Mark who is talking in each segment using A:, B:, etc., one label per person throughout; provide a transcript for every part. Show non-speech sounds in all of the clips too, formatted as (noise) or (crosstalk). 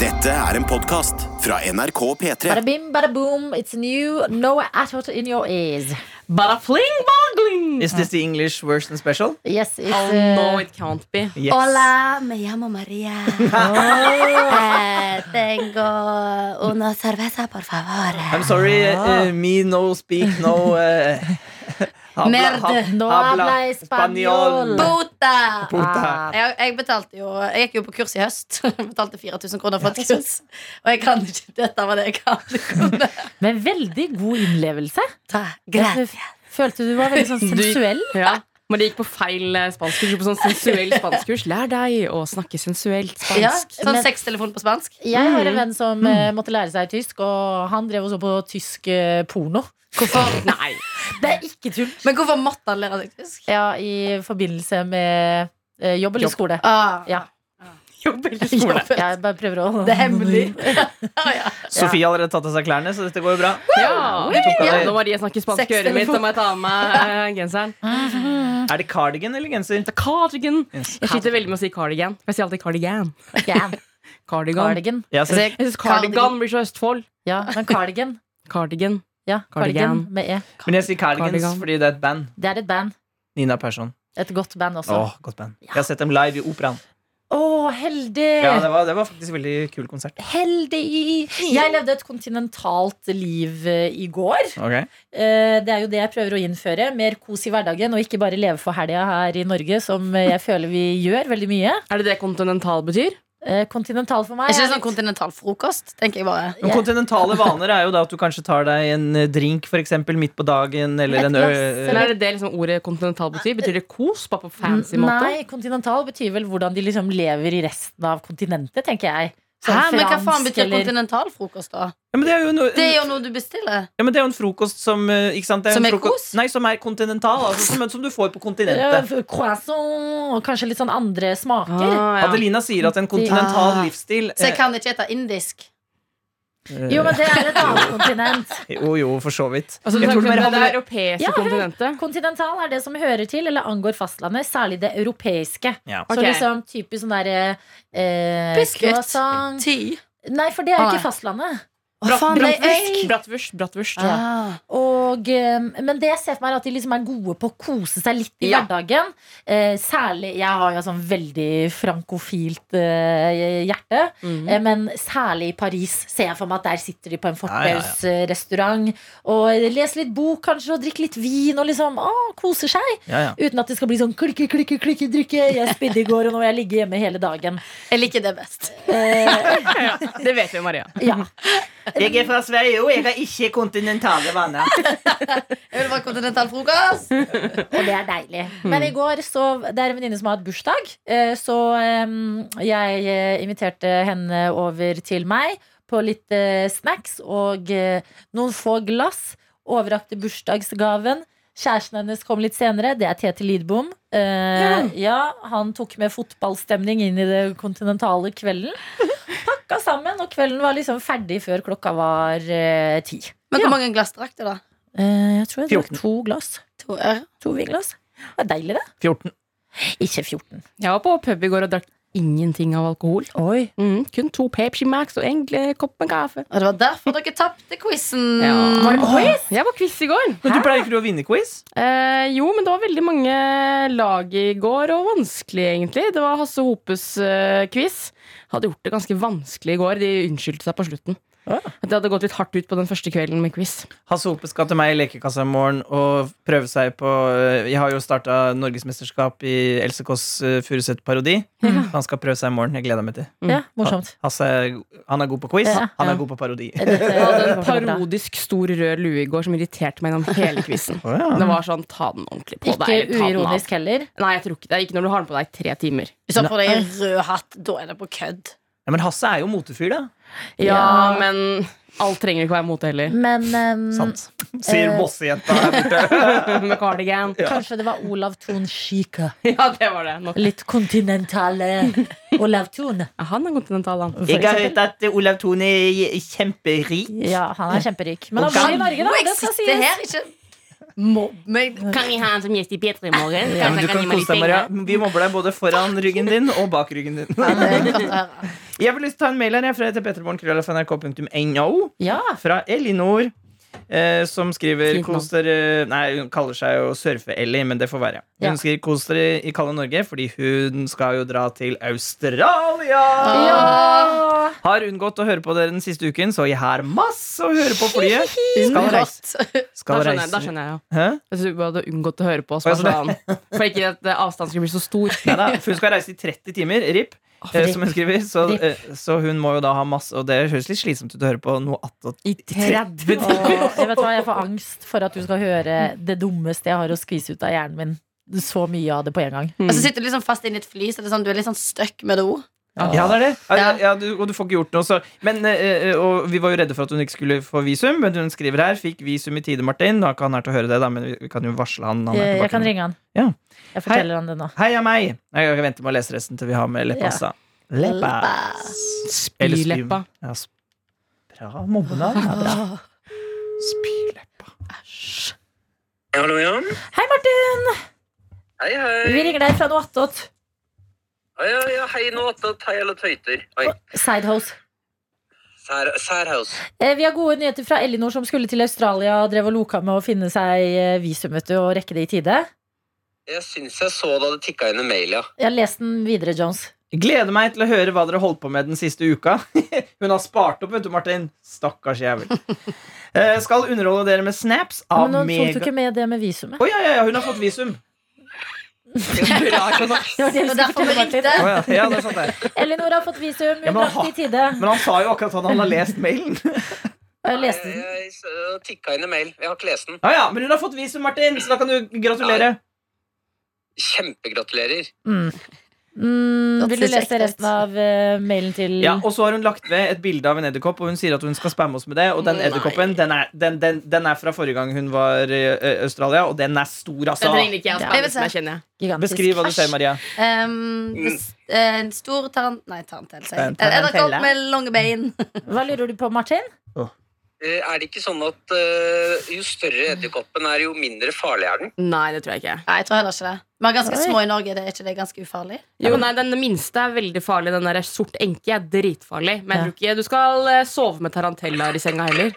A: Dette er en podkast fra NRK P3.
B: Bada bim, bada boom, it's new. No at in your ears.
C: Bada fling, bongling!
D: Is this the English version special?
B: Yes, it's
C: Oh
B: uh,
C: no, it can't be.
D: Yes.
E: Hola, me llamo María. Eh, tengo una cerveza, por favor.
D: I'm sorry, uh, me no speak no uh, habla-
E: Merde.
D: hab-
B: No
D: habla
B: habla español.
D: spanjol.
E: Puta!
D: Puta.
B: Ah,
E: Jeg, jeg betalte jo Jeg gikk jo på kurs i høst. (laughs) Jeg betalte 4000 kroner for et kurs. Og jeg kan ikke Dette var det jeg (laughs) kan.
B: Men veldig god innlevelse.
E: Ta,
B: Jeg
E: greit.
B: f- Følte du var veldig sånn
C: Du-
B: sensuell.
C: Ja. Men det gikk på feil eh, spanskkurs. På sånn (laughs) sensuell spanskkurs. Lær deg å snakke sensuelt
E: Ja,
C: spansk.
E: sånn
B: Men-
E: sextelefon på spansk.
B: Jeg har en venn som eh, måtte lære seg tysk, og han drev og så på tysk eh, porno.
E: Hvorfor?
C: (laughs) Nei.
B: Det er ikke tull.
E: Men hvorfor måtte han lære seg tysk?
B: Ja, I forbindelse med eh, jobb eller
C: Jobb.
B: skole.
E: Ah,
B: Ja.
C: Jobb eller skole.
B: Jeg bare prøver å
E: Det er hemmelig. Ah, (laughs) ja.
D: Sofie har allerede tatt av seg klærne, så dette går jo bra.
C: Ja.
D: Ja.
C: Nå Maria snakker spansk i øret mitt, da må jeg ta av meg eh, genseren.
D: Er det cardigan eller genser?
C: Det er (laughs) Cardigan.
D: Yes.
C: Jeg sliter veldig med å si cardigan. Jeg sier alltid cardigan.
B: Ja, (laughs)
C: Cardigan.
B: Cardigan.
D: Jeg ser-
C: Jeg synes cardigan blir så Østfold.
B: Ja, men cardigan.
C: Cardigan.
B: Ja, cardigan
C: Cardigan.
B: med E.
D: men jeg sier cardigans
C: Cardigan.
D: fordi det er et band.
B: Det er et band.
D: Nina Persson.
B: Et godt band også. Å,
D: Åh, godt band. Jeg har sett dem live i operaen.
B: heldig!
D: Ja, det, var, det var faktisk veldig kul konsert.
B: Heldig! Jeg levde et kontinentalt liv eh, i går. Eh, Det er jo det jeg prøver å innføre. Mer kos i hverdagen, og ikke bare leve for helga her i Norge, som eh, jeg føler vi gjør veldig mye.
C: Er det det kontinental betyr?
B: Eh, Kontinental for meg
E: Er ikke
B: er
E: det sånn kontinental frokost? Tenker jeg bare.
D: Men
B: Ja.
D: kontinentale vaner er jo da at du kanskje tar deg en drink for eksempel, midt på dagen, eller
B: Et
D: en
B: glass,
D: øl
C: Eller er det det liksom ordet kontinental betyr? Betyr det kos? Bare på fancy måte?
B: Nei, kontinental betyr vel hvordan de liksom lever i resten av kontinentet, tenker jeg. Sånn
E: Hæ, men hva faen
B: fransk
E: betyr
B: eller-
E: kontinental frokost, da?
D: ja, men det, er jo noe-
E: Det er jo noe du bestiller.
D: ja, men det er jo en frokost som eh, ikke sant? Det
E: Som
D: en
E: er
D: froko-
E: kos?
D: Nei, som er kontinental. Altså, som, som du får på
B: Ja,
D: kontinentet.
B: Croissant og kanskje litt sånn andre smaker.
C: Ah, ja.
D: Adelina sier at en kontinental
E: Ah.
D: livsstil
E: Så jeg kan ikke spise indisk.
D: eh,
B: Jo, men det er et annet kontinent.
D: jo, jo, for så vidt.
C: Altså, du
D: Jeg tror
C: snakker om
D: det mer
C: det, det
D: handler
C: europeiske
B: Ja, hør.
C: kontinentet?
B: Kontinental er det som hører til eller angår fastlandet, særlig det europeiske.
D: Ja.
B: Så
C: Ok.
B: liksom typisk sånn derre eh,
E: Biscuit.
B: croissant.
E: Ti.
B: Nei, for det er jo
E: Ah,
B: ikke
E: nei.
B: fastlandet.
E: Hva faen, det er
C: Bratwurst.
E: jeg?
C: Bratwurst. Bratwurst.
E: Ah.
B: Og, eh, men det jeg ser for meg, er at de liksom er gode på å kose seg litt i
C: Ja.
B: hverdagen. Eh, særlig Jeg har jo sånn veldig frankofilt eh, hjerte.
C: Mhm.
B: Eh, Men særlig i Paris ser jeg for meg at der sitter de på en
D: Ja, ja, ja.
B: fortausrestaurant og leser litt bok kanskje og drikker litt vin og liksom å, koser seg.
D: Ja, ja.
B: Uten at det skal bli sånn klikke, klikke, klikke, drikke. Jeg spydde i går, og nå har jeg ligget hjemme hele dagen.
E: Jeg liker det best.
B: Eh, (laughs)
C: Ja, det vet vi, Maria.
B: ja.
D: Jeg er fra Sverige, og jeg har ikke kontinentale (laughs) vaner.
E: Jeg vil bare kontinental frokost.
B: Og det er deilig. Men i går så Det er en venninne som har hatt bursdag, eh, så eh, jeg eh, inviterte henne over til meg på litt eh, snacks og eh, noen få glass. Overrakte bursdagsgaven. Kjæresten hennes kom litt senere. Det er Tete Lidbom. Eh, ja, han tok med fotballstemning inn i det kontinentale kvelden. Pakka sammen, og kvelden var liksom ferdig før klokka var eh, ti.
E: Men hvor mange glass drakk du, da?
B: Eh, jeg tror jeg drakk
D: 14.
B: to glass.
E: To øre.
B: To vinglass. Det var deilig, det.
D: 14.
B: Ikke 14.
C: Jeg var på pub i går og drakk ingenting av alkohol.
B: Oi.
C: Mhm, kun to Pepsi Max og en eh, kopp med kaffe.
E: Og det var derfor dere tapte quizen.
C: Var det quiz? Jeg var quiz i går.
D: Men du pleier ikke du å vinne quiz?
C: Eh, jo, men det var veldig mange lag i går, og vanskelig, egentlig. Det var Hasse Hopes eh, quiz. Hadde gjort det ganske vanskelig i går. De unnskyldte seg på slutten.
D: Ja.
C: At det hadde gått litt hardt ut på den første kvelden med quiz.
D: Hasse Hope skal til meg i lekekassa i morgen og prøve seg på øh, Jeg har jo starta norgesmesterskap i Else Kåss øh, Furuseth-parodi. Han skal prøve seg i morgen. Jeg gleder meg til.
B: Ja, morsomt.
D: Hasse er go- han er god på quiz,
B: Ja,
D: han
B: ja.
D: er god på parodi.
B: Dette
C: Jeg hadde
B: går
C: en
B: bra.
C: parodisk stor rød lue i går som irriterte meg gjennom hele quizen.
D: Å, ja.
C: Det var sånn, ta den ordentlig på
B: Ikke
C: deg. eller ta den av.
B: uironisk heller.
C: Nei, jeg tror ikke det. Ikke når du har den på deg i tre timer.
E: Hvis du har på deg en rød hatt, da er det på kødd.
D: Ja, men Hasse er jo motefyr, da.
B: Ja.
C: Ja, men alt trenger ikke være mote
B: (laughs)
C: heller.
B: Men ehm,
D: Sant. Mm, Sier
B: Eh.
D: bossejenta her borte.
C: Med cardigan.
B: kanskje det var Olav Thon Schieke.
C: (laughs) Ja, det var det. Nok.
B: Litt kontinentale Olav Thon.
C: Ja, Han er kontinental, han.
D: (laughs) Jeg har hørt at Olav Thon er kjemperik.
B: Ja, han er kjemperik. Men
D: Og
B: han bor i Norge, da.
E: Nå
B: Det skal
E: eksisterer
B: sies.
E: ikke Mobb meg.
F: Kan vi ha han som gjest i P3 i morgen?
D: Ja,
F: Kanskje
D: men du kan
F: gi meg
D: kose
F: litt
D: deg,
F: penger?
D: Maria. Vi mobber deg både foran ryggen din og bak ryggen din.
E: Ja, det er godt å høre.
D: (laughs) Jeg vil lyst til å ta en mail her jeg, fra til peterborn.nrk.no
B: Ja.
D: fra Elinor, eh, som skriver
F: Fint navn.
D: Kos dere Nei, hun kaller seg jo Surfe-Elli, men det får være. Hun
B: Ja.
D: skriver Kos dere i kalde Norge, fordi hun skal jo dra til Australia!
B: Ja.
D: Har unngått å høre på dere den siste uken, så jeg har masse å høre på flyet. Skal reise.
E: Godt.
D: Skal
C: Da skjønner jeg- Da
D: reise.
C: skjønner jeg jo.
D: Hæ?
C: Jeg synes du bare hadde unngått å høre på oss. bare
D: Altså,
C: sånn. For ikke at eh, avstanden skulle bli så stor.
D: Neida, for hun skal reise i 30 timer, RIP, eh, som hun skriver. Så,
B: Rip.
D: eh, så hun må jo da ha masse Og det høres litt slitsomt ut å høre på noe attåt.
C: I 30
B: Åh, jeg vet hva, jeg får angst for at du skal høre det dummeste jeg har å skvise ut av hjernen min. Så mye av det på en gang.
E: Og så sitter du liksom fast inn i et fly, så det er sånn, du er litt sånn stuck med det ord.
D: Ja, det er det. Ja,
E: Ja.
D: ja, du, og du får ikke gjort noe, så Men eh, eh, Og vi var jo redde for at hun ikke skulle få visum, men hun skriver her. Fikk visum i tide, Martin. Da kan han her til å høre det, da, men vi- vi kan jo varsle han. han er
B: Jeg,
D: tilbake.
B: jeg kan ringe han.
D: Ja.
B: Jeg forteller han det nå.
D: Hei, jeg er meg. Nei, Jeg kan vente med å lese resten til vi har med leppas, da. Leppas. Eller spy-
C: Spyleppa.
D: Ja, sp bra mobbenavn. det er bra. Spyleppa.
G: Hallo, ja.
B: Hei, Martin!
G: Hei,
B: Vi
G: hei.
B: ringer deg fra noe attåt.
G: Ja, ja, ja, hei nå, tatt, hei alle tøyter. Oi,
B: Sidehose.
G: sær, særhaus.
B: Eh, Vi har gode nyheter fra Elinor, som skulle til Australia og drev og loka med å finne seg eh, visum vet du, og rekke det i tide.
G: Jeg synes jeg så da det tikket inn
B: (laughs)
G: en mail, ja.
B: Jeg leste den videre, Jones.
D: Gleder meg til å høre hva dere holdt på med den siste uka. (laughs) Hun har spart opp, vet du, Martin. Stakkars jævel. Eh, skal underholde dere med snaps av
B: Men nå tok du
D: mega...
B: ikke med det med visumet.
D: Å ja, ja, ja, hun har fått visum.
B: Det var det
E: Det
B: vi skulle
E: var derfor vi
B: fortelle, Martin.
E: ringte.
D: Å ja, ja, det er sant det.
B: Elinor har fått visum.
D: Ja,
B: Hun
D: men
B: rakk det i tide.
D: Men han sa jo akkurat at han har lest mailen. (laughs)
B: Og Jeg leste den.
G: Eh, Jeg, jeg tikket inn en mail, jeg har ikke lest den.
D: Ja, ja, Men hun har fått visum, Martin, så da kan du gratulere.
G: Kjempegratulerer.
B: Mm. Mm,
E: Det
B: vil du
E: ser så
B: lese
E: ekte ut.
B: resten av eh, mailen til
D: Ja, Og så har hun lagt ved et bilde av en edderkopp, og hun sier at hun skal spamme oss med det. Og den
E: Nei.
D: edderkoppen den er, den, den, den er fra forrige gang hun var i ø, Australia, og den er stor,
C: Den
D: altså.
C: trenger ikke jeg
B: Ja.
C: å spørre, som jeg kjenner jeg.
B: gigantisk?
D: Beskriv hva du ser, Maria.
E: Um, det, s- eh, en stor tarant... Nei, tarantell. sier jeg.
D: En
E: En edderkopp
D: tarantella.
E: med lange bein.
B: Hva lurer du på, Martin?
G: Eh, Er det ikke sånn at eh, jo større edderkoppen er, jo mindre farlig er den?
C: Nei, det tror jeg ikke.
E: Nei, jeg tror heller ikke det. Vi er ganske
B: Oi.
E: små i Norge. Det er ikke det ganske ufarlig?
C: Jo, nei, Den minste er veldig farlig. Den der sort enke er dritfarlig. Men
B: Ja.
C: jeg tror ikke du skal eh, sove med tarantellaer i senga heller.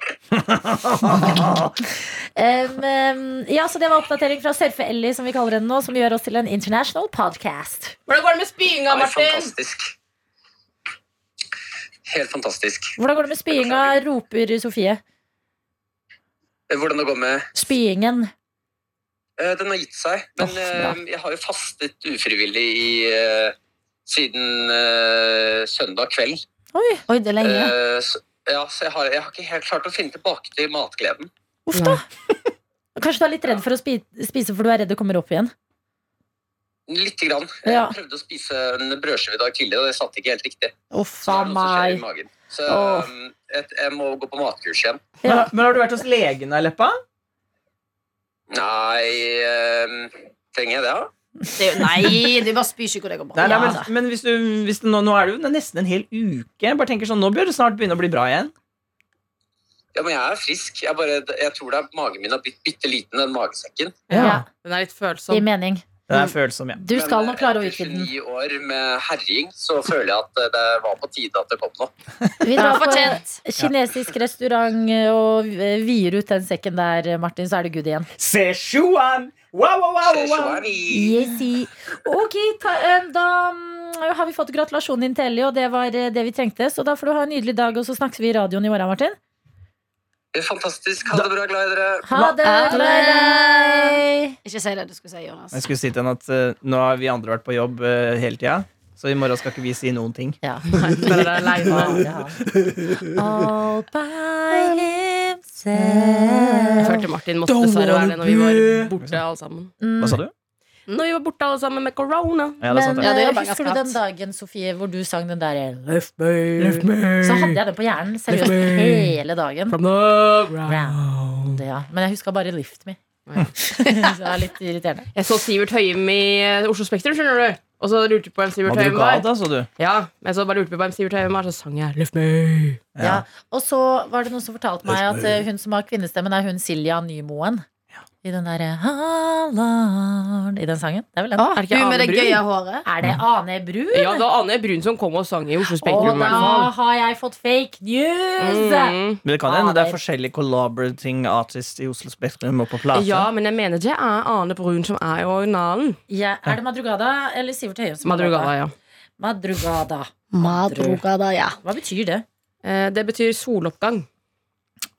B: Um, um, ja, så Det var oppdatering fra Surfe-Ellie, som vi kaller henne nå, som gjør oss til en international podcast.
C: Hvordan går det med spyinga,
G: Det er
C: Martin?
G: fantastisk. Helt fantastisk.
B: Hvordan går det med spyinga? roper Sofie.
G: Eh, Hvordan det går med
B: Spyingen.
G: Eh, Den har gitt seg, men
B: Åh, bra.
G: eh, jeg har jo fastet ufrivillig i, eh, siden eh, søndag kveld.
B: Oi,
E: Oi, det er lenge.
G: Eh, så, ja, så jeg har, jeg har ikke helt klart å finne tilbake til matgleden.
B: uff da. Kanskje du er litt redd for å spi spise, for du er redd det kommer opp igjen.
G: Litt. Grann.
B: Ja.
G: Jeg prøvde å spise en brødskive i dag tidlig, og det satt ikke helt riktig.
B: Uff
G: Så det er noe som skjer i
B: meg.
G: magen. Så
B: Åh.
G: um, jeg, jeg må gå på matkurs igjen.
D: Men,
B: Ja.
D: men har du vært hos legen, da, Leppa?
G: Nei ehm, Trenger jeg det, da?
E: Eh, Det er jo, nei, det er bare spysjuk, og det går bra.
D: Nei, nei,
B: Ja,
D: men
B: da.
D: men hvis du, hvis du, nå, nå er det jo nesten en hel uke. Jeg Bare tenker sånn, Nå bør det snart begynne å bli bra igjen.
G: Ja, men jeg er frisk. Jeg, bare, jeg tror det er magen min har blitt bitte liten, den magesekken.
B: Ja, Mm.
C: Den er litt
B: Gir
C: følsom.
B: mening.
D: Det er følsom, ja.
B: Du skal
G: Men,
B: nok klare å
G: eh,
B: utvide den.
G: Etter 29 år med herjing, så føler jeg at eh, det var på tide at det kom noe.
B: Vi
E: Det
B: drar
E: var
B: på
E: fortjent.
B: kinesisk restaurant og eh, vier ut den sekken der, Martin, så er det good igjen.
D: Sichuan! Wow, wow, wow, wow, wow.
G: Szechuani.
B: Yesi. Ok, ta, eh, da mm, har vi fått gratulasjonen din til Ellie, og det var eh, det vi trengte. Så da får du ha en nydelig dag, og så snakkes vi i radioen i morgen, Martin.
G: Fantastisk. Ha det bra, glad i dere.
B: Ha det!
E: Ha det!
B: Glad i deg!
E: Ikke si det du skulle si, Jonas.
D: Jeg skulle si til henne at eh, nå har vi andre vært på jobb eh, hele tida, så i morgen skal ikke vi si noen ting.
B: Ja.
C: Den er alene.
B: All by himself. Mm,
C: Hørte Martin måtte dessverre være det når vi var borte alle sammen.
D: Hva sa du?
C: Når vi var borte alle sammen med corona.
D: Ja, det er
B: Men
D: sant,
E: Ja,
D: det.
E: det
B: eh,
E: gjør bare
B: husker du
E: ganske
B: den dagen, Sofie, hvor du sang den der Left me. Så hadde jeg den på hjernen seriøst hele dagen.
C: From the ground.
B: Round, ja. Men jeg huska bare Lift Me.
C: Ja.
B: (laughs) Så det er litt irriterende.
C: Jeg så Sivert Høyem i eh, Oslo Spektrum, skjønner du. Og så lurte jeg på hvem Sivert
D: Hadde
C: Høyem
D: du ikke av
C: var.
D: da, så du?
C: Ja, men så bare lurte vi på hvem Sivert Høyem var, så sang jeg Left Me.
B: Ja. Og så var det noen som fortalte meg at eh, hun som har kvinnestemme, er hun Silja Nymoen. Ja. I den derre Hallar'n I den sangen. Det er vel den.
C: Er det ikke
E: Hun med
C: Ane
E: det
C: Brun?
E: gøye håret.
B: Er det Ane Bru?
C: Ja, det var Ane Brun som kom og sang i Oslo
B: Og
C: Spektrum. i hvert
B: da
C: fall.
B: har jeg fått fake news!
C: Mm.
D: Men det kan hende det er
B: Fader.
D: forskjellige collaborating artists i Oslo Spektrum og på plata.
C: Ja, men jeg mener det er Ane Brun som er i originalen.
B: Ja, er det Madrugada eller Sivert Høyem? som har
C: Madrugada,
B: laget
C: ja.
B: det? Madrugada.
E: Madrugada, ja.
B: Hva betyr det?
C: Eh, Det betyr soloppgang.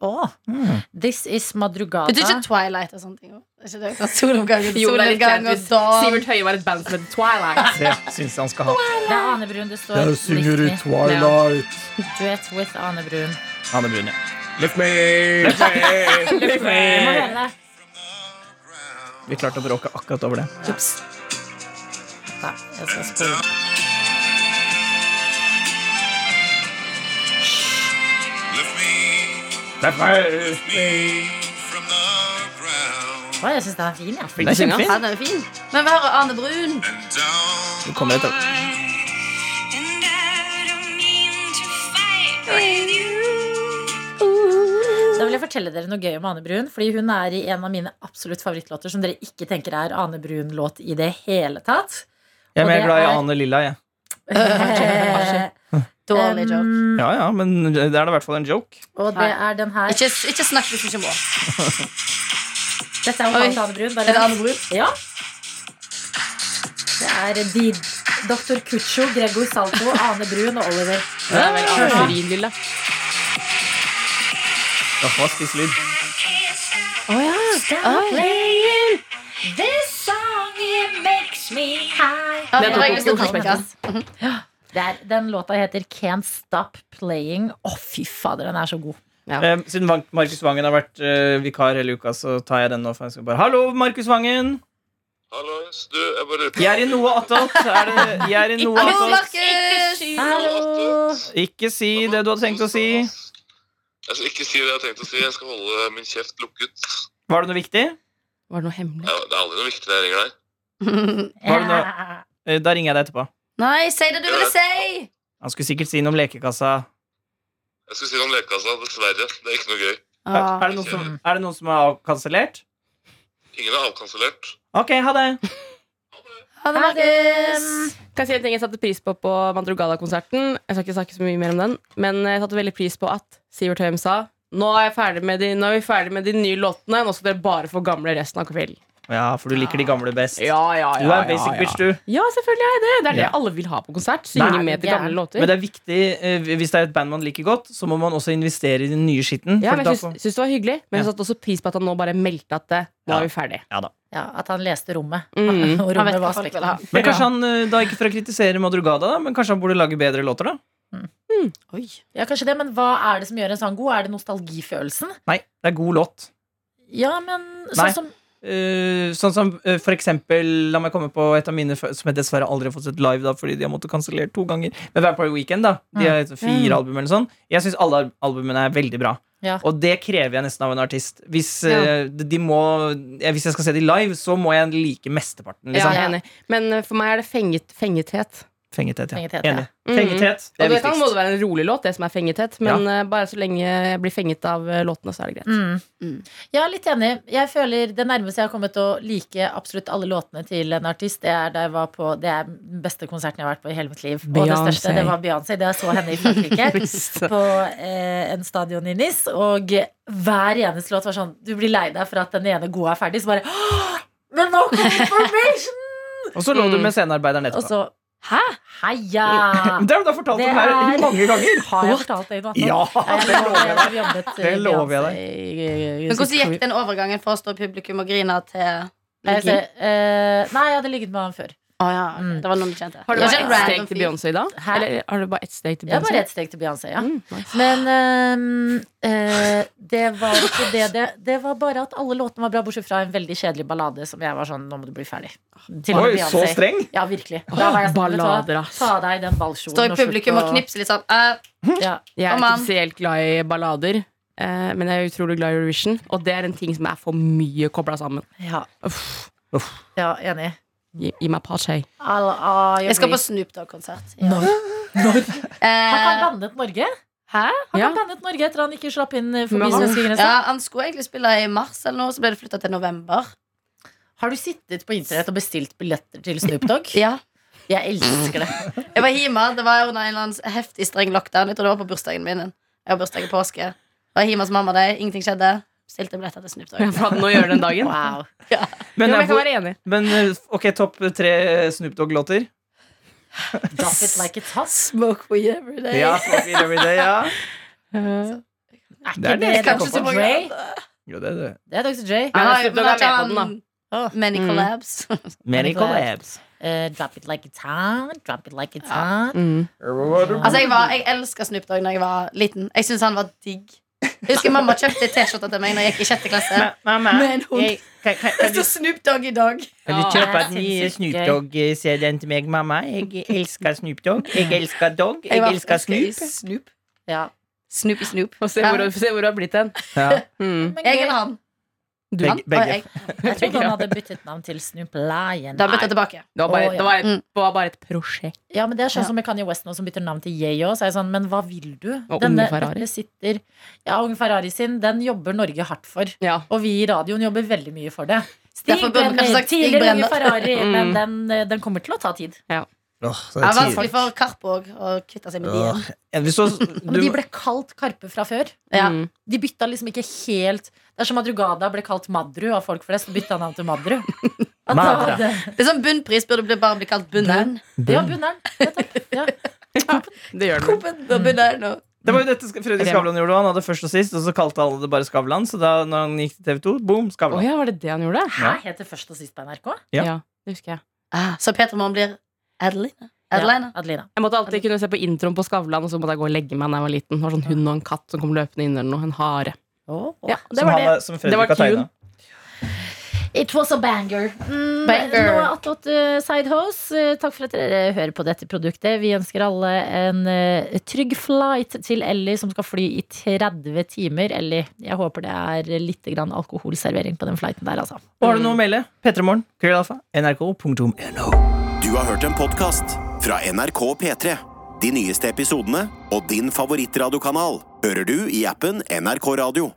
B: Å, Mm. This is Madrugada.
E: Betyr ikke Twilight og sånne ting? også? Er ikke det fra Soloppgang og
C: Jo, det er litt
E: soloppgang og
C: kjent.
E: dawn?
C: Sivert Høie var et band som het Twilight.
D: Det syns jeg han skal ha.
B: Det er Ane Brun det står. Lick me. Duett with Ane Brun.
D: Hanne Brun, ja.
B: Jeg må høre det.
D: Vi klarte å bråke akkurat over det.
B: Nei, jeg skal spole. Å, jeg syns den er fin, jeg.
D: Det er kjempefint.
E: Han er jo fin. Men vi hører Arne Brun.
D: Det kommer etter hvert.
B: Da vil jeg fortelle dere noe gøy om Ane Brun. Fordi hun er i en av mine absolutt favorittlåter som dere ikke tenker er Ane Brun-låt i det hele tatt.
D: Jeg er
B: Og
D: mer
B: det
D: glad i
B: er-
D: Ane Lilla, jeg.
B: Eh,
E: Dårlig joke.
B: um,
D: Ja, ja, men det er da i hvert fall en joke.
B: og det er den her.
E: Ikke, ikke snakk hvis du ikke må.
B: Dette er jo
E: Oi.
B: Ane Brun. Bare
E: Er det Arne Brun?
B: Ja. Det er de, Dr. Cuccio, Gregor Salto, Ane Brun og Oliver.
C: Det er vel Ane
B: Ja.
C: Brun, lille.
D: Ja, hva spiser lyd?
E: Ja,
C: Det er
E: det var engelsk
C: Oslo
E: podcast.
B: Det er, den låta heter Can't Stop Playing. Å, fy fader, den er så god.
C: Ja.
D: Eh, Siden Van- Markus Vangen har vært eh, vikar hele uka, så tar jeg den nå. For jeg skal bare, Hallo, Markus Vangen!
H: Hallois, du, jeg bare lurer på
D: Jeg er i noe attåt. Er det, jeg er i noe
E: Hallo,
D: attåt.
E: Markus!
B: Hallo!
D: Ikke si det du hadde tenkt å si.
H: eh, Jeg skal ikke si det jeg har tenkt å si. Jeg skal holde min kjeft lukket.
D: Var det noe viktig?
C: Var det noe hemmelig?
H: Ja, Det er aldri noe viktig når jeg ringer deg.
D: Har du noe- Eh, Da ringer jeg deg etterpå.
E: (laughs) Nei, si det du ville si!
D: Han skulle sikkert si noe om lekekassa.
H: Jeg skulle si noe om lekekassa. Dessverre. Det er ikke noe gøy.
D: Er,
E: Ah.
D: er, det, noen som, er det noen som er kansellert?
H: Ingen er avkansellert.
D: Ok, ha det.
E: Ha det, Markus.
C: Kan jeg si en ting jeg satte pris på på Madrugada-konserten? Jeg skal ikke snakke så mye mer om den, men jeg satte veldig pris på at Sivert Høyem sa nå er, jeg ferdig med de, nå er vi ferdig med de nye låtene, nå skal dere bare få gamle resten av kvelden.
D: Ja, for du liker de gamle best.
C: Ja, ja, ja,
D: Du er basic
C: ja, ja.
D: bitch, du.
C: Ja, selvfølgelig er jeg det. Det er det
D: Ja.
C: alle vil ha på konsert.
D: Nei,
C: Synge med til
B: det er-
C: gamle låter.
D: Men det er viktig, eh, hvis det er et band man liker godt, så må man også investere i den nye skitten.
C: ja,
D: for
C: men
D: da
C: jeg
D: får-
C: syns, syns det var hyggelig, men jeg
D: Ja.
C: satte også pris på at han nå bare meldte at det, nå
D: Ja.
C: er vi
D: (laughs)
C: ferdig.
B: Ja, at han leste rommet.
C: Mm.
B: (laughs) Og
E: Han vet
B: rommet
E: hva
B: var
E: folk vil ha.
B: spektrum.
D: men kanskje han, eh, da ikke for å kritisere Madrugada, da, men kanskje han burde lage bedre låter, da?
B: Ja, kanskje det, men hva er det som gjør en sang god? Er det nostalgifølelsen?
D: Nei, det er god låt.
B: Ja, men
D: Nei.
B: sånn som
D: Eh, sånn som eh, for eksempel, la meg komme på et av mine f- som jeg dessverre aldri har fått sett live, da, fordi de har måttet kansellere to ganger. Men Vampire Weekend, da. De har fire album eller sånn. Jeg syns alle al- albumene er veldig bra.
B: Mm. Ja.
D: Og det krever jeg nesten av en artist. Hvis, eh, de må, eh, hvis jeg skal se de live, så må jeg like mesteparten.
C: Ja,
D: Liksom.
C: jeg er enig. Men eh, for meg er det fenget, fengethet.
D: Fengethet, ja.
B: Fengethet, ja. Mm.
D: Enig.
C: Mhm.
D: Fengethet, det
C: Og
D: er
C: det kan både
D: viktigst.
C: være en rolig låt, det som er fengethet, men eh, bare så lenge jeg blir fenget av eh, låtene, så er det greit.
B: mm. Ja, litt enig. Jeg føler Det nærmeste jeg har kommet å like absolutt alle låtene til en artist, det er da jeg var på Det er den beste konserten jeg har vært på i hele mitt liv. Og det
C: Beyoncé.
B: største, det var Beyoncé. Det jeg så henne i
D: (laughs)
B: Frankrike. på eh, en stadion i Nis, og hver eneste låt var sånn Du blir lei deg for at den ene gode er ferdig, så bare «Åh, Men nå kom
D: (laughs)
B: information!
D: Og så lå du med scenearbeideren
B: Mm. Og
D: etterpå.
B: så Hæ? Heia!
D: Det har du da fortalt
B: Det
D: om her
B: er-
D: mange ganger.
B: Har jeg fortalt deg noe annet?
D: Ja,
B: Nei,
D: det lover jeg deg.
B: har jobbet i
D: Det lover jeg
B: Beyoncé i- i- i-
E: Men hvordan gikk den overgangen fra å stå i publikum og grine til
B: Nei, jeg ser- eh, nei, jeg hadde ligget med han før.
E: Å ja, ok.
B: Mm.
E: Det var noen du kjente.
C: Har du
E: Det
C: bare ett
E: var ikke en random
C: steg til
E: fyr.
C: Beyoncé i dag?
B: Hæ?
C: Eller har du bare ett steg til
B: Jeg var
C: Beyoncé?
B: ett steg til Beyoncé, ja.
C: Mm, nice.
B: Men ehm, eh, det var ikke det, det Det var bare at alle låtene var bra, bortsett fra en veldig kjedelig ballade som jeg var sånn Nå må du bli ferdig. Til og med
D: Oi, så
B: Beyoncé.
D: streng.
B: Ja, virkelig. Da var jeg sånn, vet du hva?
C: Ballader, ass.
B: Ta deg den ballkjolen
E: Står i
B: slutt
E: publikum og
B: å-
E: knipser litt sånn. eh,
B: Ja.
C: Jeg er
E: Kom an.
C: ikke spesielt glad i ballader, eh, men jeg er utrolig glad i Eurovision. Og det er en ting som er for mye kobla sammen.
B: Ja.
C: Uff.
B: ja, enig.
C: Gi, gi meg pachay.
B: I'll, I'll
C: ah,
E: Jeg skal på Snoop Dogg-konsert. i år.
B: Når?
E: (laughs) Eh,
B: Har ikke han landet Norge?
C: Hæ?
B: Han
C: Ja.
B: har bannet Norge etter han ikke slapp inn eh, forbi
C: Men han-
B: svenskegrensa.
E: Ja, Han skulle egentlig spille i mars, eller noe, så ble det flytta til november.
B: Har du sittet på internett og bestilt billetter til Snoop
C: (laughs)
B: Dogg?
E: Ja
B: Jeg elsker det.
E: Jeg var hjemme, det var under en eller annen heftig streng lockdown. Jeg tror det var på bursdagen min. Jeg har bursdag i påske. Jeg var hjemme hos mamma der, ingenting skjedde. Bestilte billetter til Snoop
C: Ja,
E: Dogg.
C: for nå gjør den dagen.
B: (laughs) Wow.
C: (laughs) Jo, men
D: Men, eh,
C: jeg kan
D: hvor,
C: være enig.
D: men eh, ok, topp tre Snoop Dogg-låter.
B: Drop it like it's hot.
E: (laughs) Smoke weed every day.
D: Ja, Smoke Weed Every Day, ja.
C: Eh.
B: Er
D: Det er
B: ikke
D: det
B: det,
D: jeg kom
B: Dr.
E: Kanskje så
D: på.
E: mange
B: Dre?
E: andre. Mm.
D: Jo, det er det.
B: Det er Dr. Dre.
C: Ja,
E: Men
C: men
E: har-
C: Snoop Dogg
E: men har ikke
C: er med på
E: han oh, Many
C: Mm.
E: collabs.
D: Many
B: Many
D: collabs.
B: Eh, drop it like it's hot. Drop it like it's hot.
C: Mm.
E: Altså, jeg, var- jeg elska Snoop Dogg da jeg var liten. Jeg syns han var digg. Jeg husker mamma kjøpte T-skjorte til meg Når jeg gikk i sjette klasse.
D: Mamma,
E: Men hun-
D: jeg- kan, kan, kan
E: Det står Snoop Dogg i dag.
D: Kan du
F: Ja,
D: kjøpe
B: jeg
D: en
B: synes
D: ny
B: ikke.
D: Snoop Dogg-CD-en til meg, mamma? Jeg elsker Snoop Dogg. Jeg elsker dog. Jeg
E: var-
D: elsker
E: jeg
D: Snoop.
E: Snoop.
B: Ja.
E: Snoopy Snoop.
C: Og se hvor, se hvor du har blitt hen.
D: Ja.
B: Men
C: Mm.
E: Jeg
B: gøy.
E: eller han.
C: Du,
E: han
C: han,
D: Begge-
E: og jeg.
B: Jeg trodde han hadde byttet navn til Snoop Lion.
E: Da bytta jeg tilbake.
C: det, var bare,
B: Å, ja.
C: det, var,
E: Mm.
C: det var bare et prosjekt.
B: Ja, men Det er sånn som med Kanye West nå, som bytter navn til Yeo. Så er jeg sånn, men hva vil du?
C: Og
B: Denne-
C: Unge Ferrari.
B: dette Sitter, ja, Unge Ferrari sin, den jobber Norge hardt for.
C: Ja.
B: Og vi i radioen jobber veldig mye for det. Stig
E: Derfor burde vi kanskje
B: Brenner,
E: sagt Stig
B: tidligere Unge
E: Brenner.
B: (laughs) Ferrari, men
C: Mm.
B: den, eh, den kommer til å ta tid.
E: Det er vanskelig for Karpe òg å kvitte seg med de. igjen.
D: Vi så
B: Ja, Men de
D: du,
B: ble kalt Karpe fra før.
E: Ja.
C: Mm.
B: De bytta liksom ikke helt Det er som Madrugada ble kalt Madru av folk flest, og bytta navn til Madru. (laughs) At da
D: Madra.
B: hadde-
E: Det er sånn Bunnpris burde bli, bare bli kalt bunneren.
B: Ja, Bunneren. nettopp. Ja.
C: Det gjør den.
E: Koppen og bunneren og
D: det var jo dette Sk- Fredrik Skavlan gjorde. Han hadde først og sist, og så kalte alle det bare Skavlan. Så da når han gikk til TV 2, boom,
C: Å
D: Skavlan.
C: ja, var det det han gjorde?
B: Hæ? Heter først og sist på NRK?
D: Ja.
C: det husker jeg.
E: ah, Så Peter Moren blir Adeline.
B: Ja,
E: Adeline.
B: Adelina.
C: Jeg måtte alltid kunne se på introen på Skavlan, og så måtte jeg gå og legge meg da jeg var liten. Det var sånn hund og en katt som kom løpende inn, eller noe. En hare.
B: Å, å.
C: Ja, det
D: Som,
C: var det.
D: han, som
C: Det var
D: Fredrik har tegna.
C: tune.
B: It was a banger. Mm,
E: Banger.
B: Nå er attåt eh, Sidehouse. Eh, takk for at dere hører på dette produktet. Vi ønsker alle en eh, trygg flight til Ellie, som skal fly i 30 timer. Ellie, jeg håper det er litt grann alkoholservering på den flighten der, altså.
D: Og har du noe å melde? P3morgen, krøllalfa, nrk.no.
A: Du har hørt en podcast fra NRK P3. De nyeste episodene og din favorittradiokanal hører du i appen NRK Radio.